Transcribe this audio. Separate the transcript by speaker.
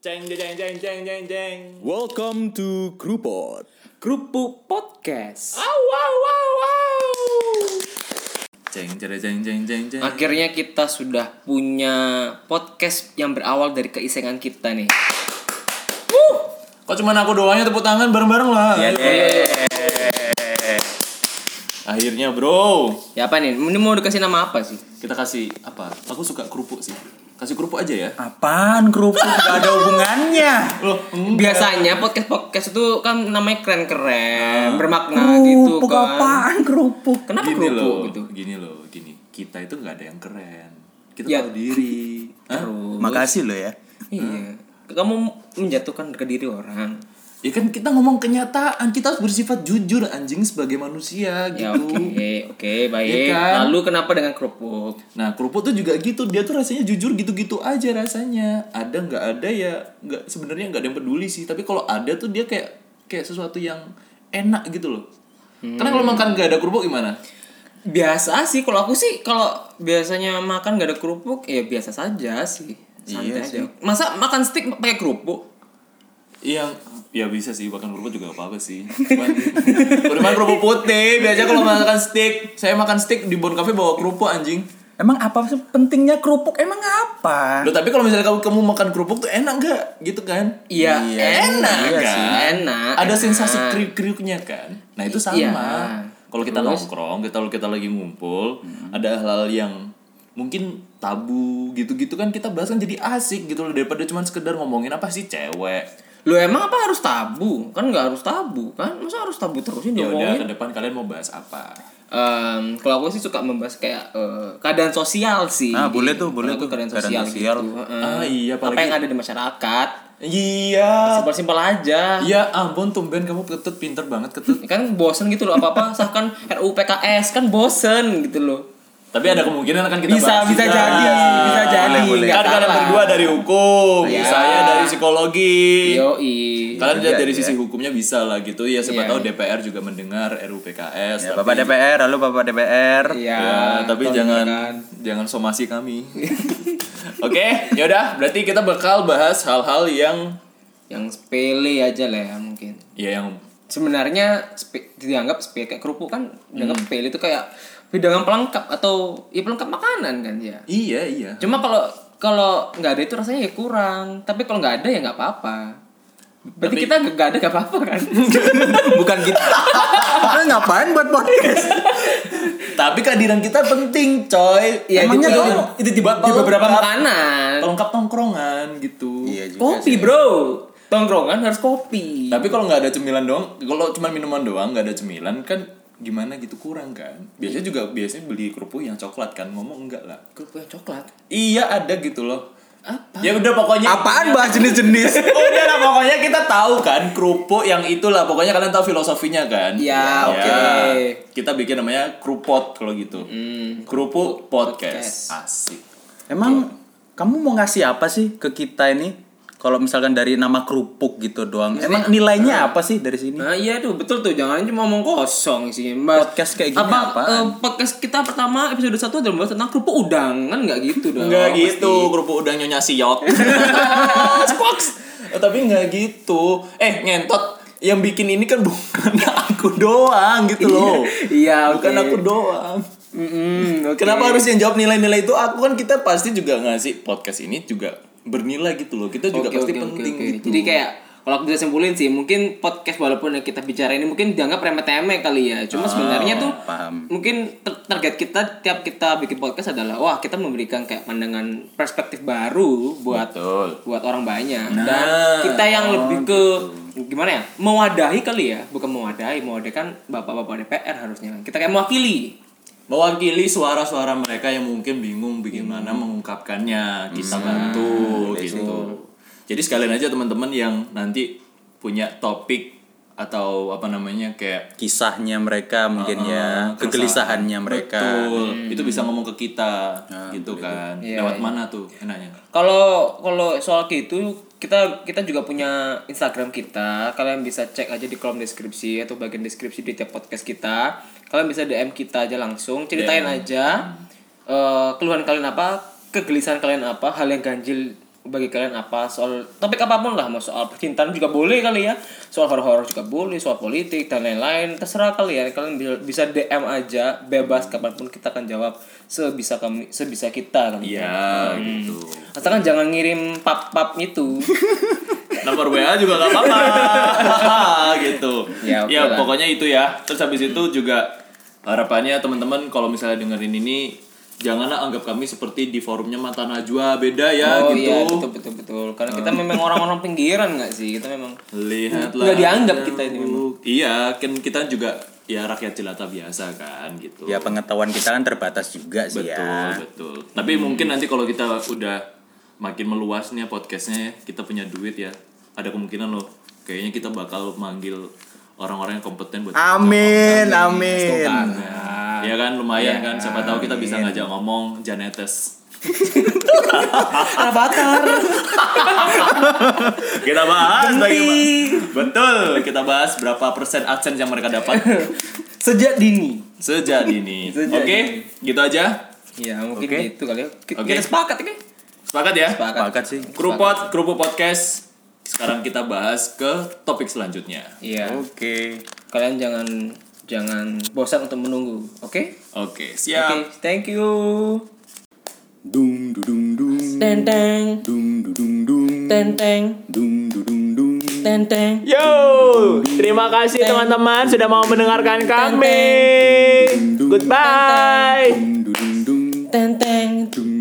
Speaker 1: Ceng jeng jeng jeng jeng jeng.
Speaker 2: Welcome to
Speaker 1: Oh,
Speaker 2: Krupot.
Speaker 3: Kerupuk Podcast.
Speaker 1: Wow wow wow wow.
Speaker 2: Ceng cere ceng ceng ceng ceng.
Speaker 3: Akhirnya kita sudah punya podcast yang berawal dari keisengan kita nih.
Speaker 2: Kok cuman aku doanya tepuk tangan bareng-bareng lah.
Speaker 3: Iya,
Speaker 2: Akhirnya bro,
Speaker 3: Ya apa nih? Ini mau dikasih nama apa sih?
Speaker 2: kita kasih apa? Aku suka kerupuk sih. Kasih kerupuk aja ya.
Speaker 1: Apaan kerupuk gak ada hubungannya?
Speaker 2: Loh, enggak.
Speaker 3: Biasanya podcast-podcast itu kan namanya keren-keren, bermakna gitu
Speaker 1: Kerupuk
Speaker 3: kan.
Speaker 1: apaan kerupuk?
Speaker 2: Ah.
Speaker 3: Kenapa
Speaker 2: gini
Speaker 3: kerupuk
Speaker 2: loh, Ah.
Speaker 3: gitu?
Speaker 2: gini loh, gini. Kita itu nggak ada yang keren. Kita
Speaker 3: Ya.
Speaker 2: tahu diri. Hah?
Speaker 3: Terus.
Speaker 1: Makasih lo ya.
Speaker 3: Iya. Kamu menjatuhkan ke diri orang.
Speaker 2: Ya kan kita ngomong kenyataan, kita harus bersifat jujur anjing sebagai manusia gitu.
Speaker 3: Ya oke, oke, baik.
Speaker 2: Iya kan?
Speaker 3: Lalu kenapa dengan kerupuk?
Speaker 2: Nah kerupuk tuh juga gitu Dia tuh rasanya jujur gitu-gitu aja rasanya Ada nggak ada ya nggak sebenarnya nggak ada yang peduli sih Tapi kalau ada tuh dia kayak kayak sesuatu yang enak gitu loh Karena kalau makan nggak ada kerupuk gimana?
Speaker 3: Biasa sih kalau aku sih kalau biasanya makan gak ada kerupuk ya biasa saja sih.
Speaker 2: Iya
Speaker 3: Santai aja. Masa makan steak pakai kerupuk?
Speaker 2: Yang ya bisa sih makan kerupuk juga nggak apa-apa sih Cuman udah makan kerupuk putih Biasanya kalau makan steak Saya makan steak di Bon Cafe bawa kerupuk anjing
Speaker 1: Emang apa sih pentingnya kerupuk? Emang apa?
Speaker 2: Loh tapi kalau misalnya kamu, kamu makan kerupuk tuh enak nggak? Gitu kan?
Speaker 3: Iya,
Speaker 2: enak,
Speaker 3: enak
Speaker 2: kan?
Speaker 3: sih, enak,
Speaker 2: Ada
Speaker 3: enak.
Speaker 2: sensasi kriuk-kriuknya kan. Nah, itu sama.
Speaker 3: Iya. Hmm.
Speaker 2: Kalau kita nongkrong, kita kalau kita lagi ngumpul, ada hal-hal yang mungkin tabu gitu-gitu kan kita bahas kan jadi asik gitu loh daripada cuman sekedar ngomongin apa sih cewek.
Speaker 3: Lo emang apa harus tabu? Kan nggak harus tabu kan? Masa harus tabu terus sih
Speaker 2: Ya udah
Speaker 3: diomongin?
Speaker 2: ke depan kalian mau bahas apa?
Speaker 3: Em, kalau aku sih suka membahas kayak eh, keadaan sosial sih.
Speaker 1: Nah, boleh tuh,
Speaker 3: Kalau
Speaker 1: boleh tuh.
Speaker 3: aku Keadaan
Speaker 1: Keadaan
Speaker 3: sosial,
Speaker 1: sosial.
Speaker 3: gitu. Heeh.
Speaker 2: Ah, iya,
Speaker 3: Apa
Speaker 2: apalagi-
Speaker 3: yang ada di masyarakat?
Speaker 2: Iya.
Speaker 3: Simpel-simpel aja.
Speaker 2: Ya ampun tumben kamu ketut pinter banget ketut.
Speaker 3: Kan bosen gitu loh apa-apa sahkan RUU PKS kan bosen gitu loh.
Speaker 2: Tapi ada kemungkinan akan kita
Speaker 3: Bisa
Speaker 2: bahas
Speaker 3: bisa
Speaker 2: juga.
Speaker 3: jadi, bisa jadi.
Speaker 1: boleh.
Speaker 3: nggak
Speaker 2: Kan kalian
Speaker 3: salah.
Speaker 2: berdua dari hukum,
Speaker 3: Iya.
Speaker 2: saya dari psikologi.
Speaker 3: Yoi.
Speaker 2: Kalian lihat
Speaker 1: Iya,
Speaker 2: dari
Speaker 1: iya.
Speaker 2: sisi hukumnya bisa lah gitu ya siapa
Speaker 3: Iya.
Speaker 2: tahu DPR juga mendengar RUU PKS.
Speaker 1: Ya,
Speaker 2: tapi-
Speaker 1: Bapak DPR, halo Bapak DPR.
Speaker 3: Iya. kan.
Speaker 2: Ya, tapi
Speaker 3: tolong
Speaker 2: jangan
Speaker 3: dengarkan.
Speaker 2: jangan somasi kami. Oke, yaudah berarti kita bakal bahas hal-hal yang
Speaker 3: yang sepele aja lah ya mungkin.
Speaker 2: ya yang
Speaker 3: sebenarnya spe- dianggap sepele kayak kerupuk kan dianggap sepele itu kayak hidangan pelengkap atau ya pelengkap makanan kan ya
Speaker 2: iya iya.
Speaker 3: cuma kalau kalau nggak ada itu rasanya ya kurang tapi kalau nggak ada ya nggak apa-apa berarti kita nggak ada nggak apa-apa kan
Speaker 1: Bukan gitu. Lo ngapain buat podcast?
Speaker 2: Tapi kehadiran kita penting, coy.
Speaker 3: Iya,
Speaker 2: Emangnya
Speaker 3: gitu.
Speaker 2: doang itu di,
Speaker 3: di beberapa makanan Iya,
Speaker 2: pelengkap tongkrongan gitu.
Speaker 3: kopi bro tongkrongan harus kopi
Speaker 2: Tapi kalau nggak ada cemilan doang, kalau cuma minuman doang nggak ada cemilan kan gimana gitu kurang kan. Biasanya juga biasanya beli kerupuk yang coklat kan ngomong enggak lah.
Speaker 3: kerupuk yang coklat
Speaker 2: Iya ada gitu loh.
Speaker 3: apa
Speaker 2: Ya udah pokoknya
Speaker 1: Apaan bahas jenis-jenis?
Speaker 2: Udah lah pokoknya kita tahu kan kerupuk yang itulah pokoknya kalian tahu filosofinya kan.
Speaker 3: Iya, oke.
Speaker 2: Kita bikin namanya kerupot kalau gitu.
Speaker 3: Hmm.
Speaker 2: Kerupuk podcast. Asik.
Speaker 1: Emang kamu mau ngasih apa sih ke kita ini? Kalau misalkan dari nama kerupuk gitu doang. Emang nilainya apa sih dari sini?
Speaker 3: Nah iya tuh betul tuh jangan cuma ngomong kosong sih mbak.
Speaker 1: Podcast kayak gini
Speaker 3: Apa,
Speaker 1: apaan?
Speaker 3: eh, podcast kita pertama episode 1 adalah membahas tentang kerupuk udang kan nggak gitu dong.
Speaker 2: Enggak gitu, kerupuk udang nyonya siok. Spoks. Eh, Tapi enggak gitu. Eh, ngentot. Yang bikin ini kan bukan aku doang gitu loh.
Speaker 3: Iya
Speaker 2: bukan
Speaker 3: oke.
Speaker 2: aku doang.
Speaker 3: Mm-mm, oke.
Speaker 2: Kenapa harus yang jawab nilai-nilai itu aku kan kita pasti juga ngasih podcast ini juga bernilai gitu loh. Kita juga
Speaker 3: Oke,
Speaker 2: pasti
Speaker 3: oke, oke,
Speaker 2: penting
Speaker 3: oke.
Speaker 2: gitu.
Speaker 3: Jadi kayak kalau aku bisa simpulin sih mungkin podcast walaupun yang kita bicara ini mungkin dianggap remeh-temeh kali ya. Cuma sebenarnya tuh
Speaker 1: paham.
Speaker 3: mungkin ter- target kita tiap kita bikin podcast adalah wah kita memberikan kayak pandangan perspektif baru buat
Speaker 2: Betul.
Speaker 3: buat orang banyak
Speaker 2: Nah, Gitu.
Speaker 3: dan kita yang lebih ke gimana ya mewadahi kali ya bukan mewadahi mewadahi kan bapak-bapak DPR harusnya kita kayak mewakili
Speaker 2: Mewakili suara-suara mereka yang mungkin bingung bagaimana mengungkapkannya, kita bantu gitu. Jadi sekalian aja teman-teman yang nanti punya topik atau apa namanya kayak
Speaker 1: Kisahnya mereka mungkin
Speaker 2: eh,
Speaker 1: ya, kegelisahannya
Speaker 2: keresahan.
Speaker 1: mereka.
Speaker 2: Betul. Itu bisa ngomong ke kita gitu kan.
Speaker 3: Iya,
Speaker 2: Lewat
Speaker 3: iya.
Speaker 2: mana tuh enaknya?
Speaker 3: kalau kalau soal gitu kita kita juga punya Instagram kita kalian bisa cek aja di kolom deskripsi atau bagian deskripsi di tiap podcast kita kalian bisa DM kita aja langsung ceritain aja eh, keluhan kalian apa kegelisahan kalian apa hal yang ganjil bagi kalian apa soal topik apapun lah mau soal percintaan juga boleh kali ya soal horor-horor juga boleh soal politik dan lain-lain terserah kalian kalian bi- bisa DM aja bebas kapanpun kita akan jawab sebisa kami sebisa kita kan
Speaker 2: Iya gitu.
Speaker 3: asalkan jangan ngirim pap-pap gitu. itu
Speaker 2: Nomor WA juga gak apa-apa gitu.
Speaker 3: Ya, oke lah.
Speaker 2: pokoknya itu ya. Terus habis itu juga harapannya teman-teman kalau misalnya dengerin ini janganlah anggap kami seperti di forumnya Mata Najwa beda ya
Speaker 3: oh
Speaker 2: gitu.
Speaker 3: iya betul betul betul karena kita memang orang-orang pinggiran nggak sih kita memang
Speaker 2: Lihatlah.
Speaker 3: Nggak dianggap kita ini memang.
Speaker 2: Iya, kan kita juga ya rakyat jelata biasa kan gitu.
Speaker 1: Ya pengetahuan kita kan terbatas juga sih
Speaker 2: betul,
Speaker 1: ya.
Speaker 2: betul. Tapi mungkin nanti kalau kita udah makin meluas nih ya podcastnya ya, kita punya duit ya. Ada kemungkinan loh, kayaknya kita bakal manggil orang-orang yang kompeten buat
Speaker 3: Ah,
Speaker 1: Amin, amin.
Speaker 2: Ya kan lumayan kan, siapa tahu kita bisa ngajak ngomong Janetes.
Speaker 3: avatar
Speaker 2: Kita bahas bagaimana. Betul, kita bahas berapa persen adsense yang mereka dapat.
Speaker 3: sejak dini
Speaker 2: Sejak dini.
Speaker 3: Sejak
Speaker 2: Oke, gitu aja.
Speaker 3: ya mungkin
Speaker 1: Oke.
Speaker 3: gitu kali ya Ki-
Speaker 2: Oke.
Speaker 3: kita sepakat ini
Speaker 2: Sepakat ya?
Speaker 1: Sepakat sih.
Speaker 2: Kerupot, kerupuk podcast. Sekarang kita bahas ke topik selanjutnya.
Speaker 3: iya
Speaker 1: Oh. Oke.
Speaker 3: kalian jangan jangan bosan untuk menunggu oke
Speaker 2: Oke,
Speaker 3: oke
Speaker 2: siap.
Speaker 3: thank you
Speaker 1: Dung dung dung.
Speaker 3: tenteng
Speaker 1: Dung dung dung.
Speaker 3: tenteng
Speaker 1: Dung dung dung.
Speaker 3: tenteng
Speaker 4: Yo, terima kasih teman-teman sudah mau mendengarkan kami.
Speaker 1: Dung dung
Speaker 4: Goodbye.
Speaker 1: dung dung dung.
Speaker 3: tenteng
Speaker 1: Dung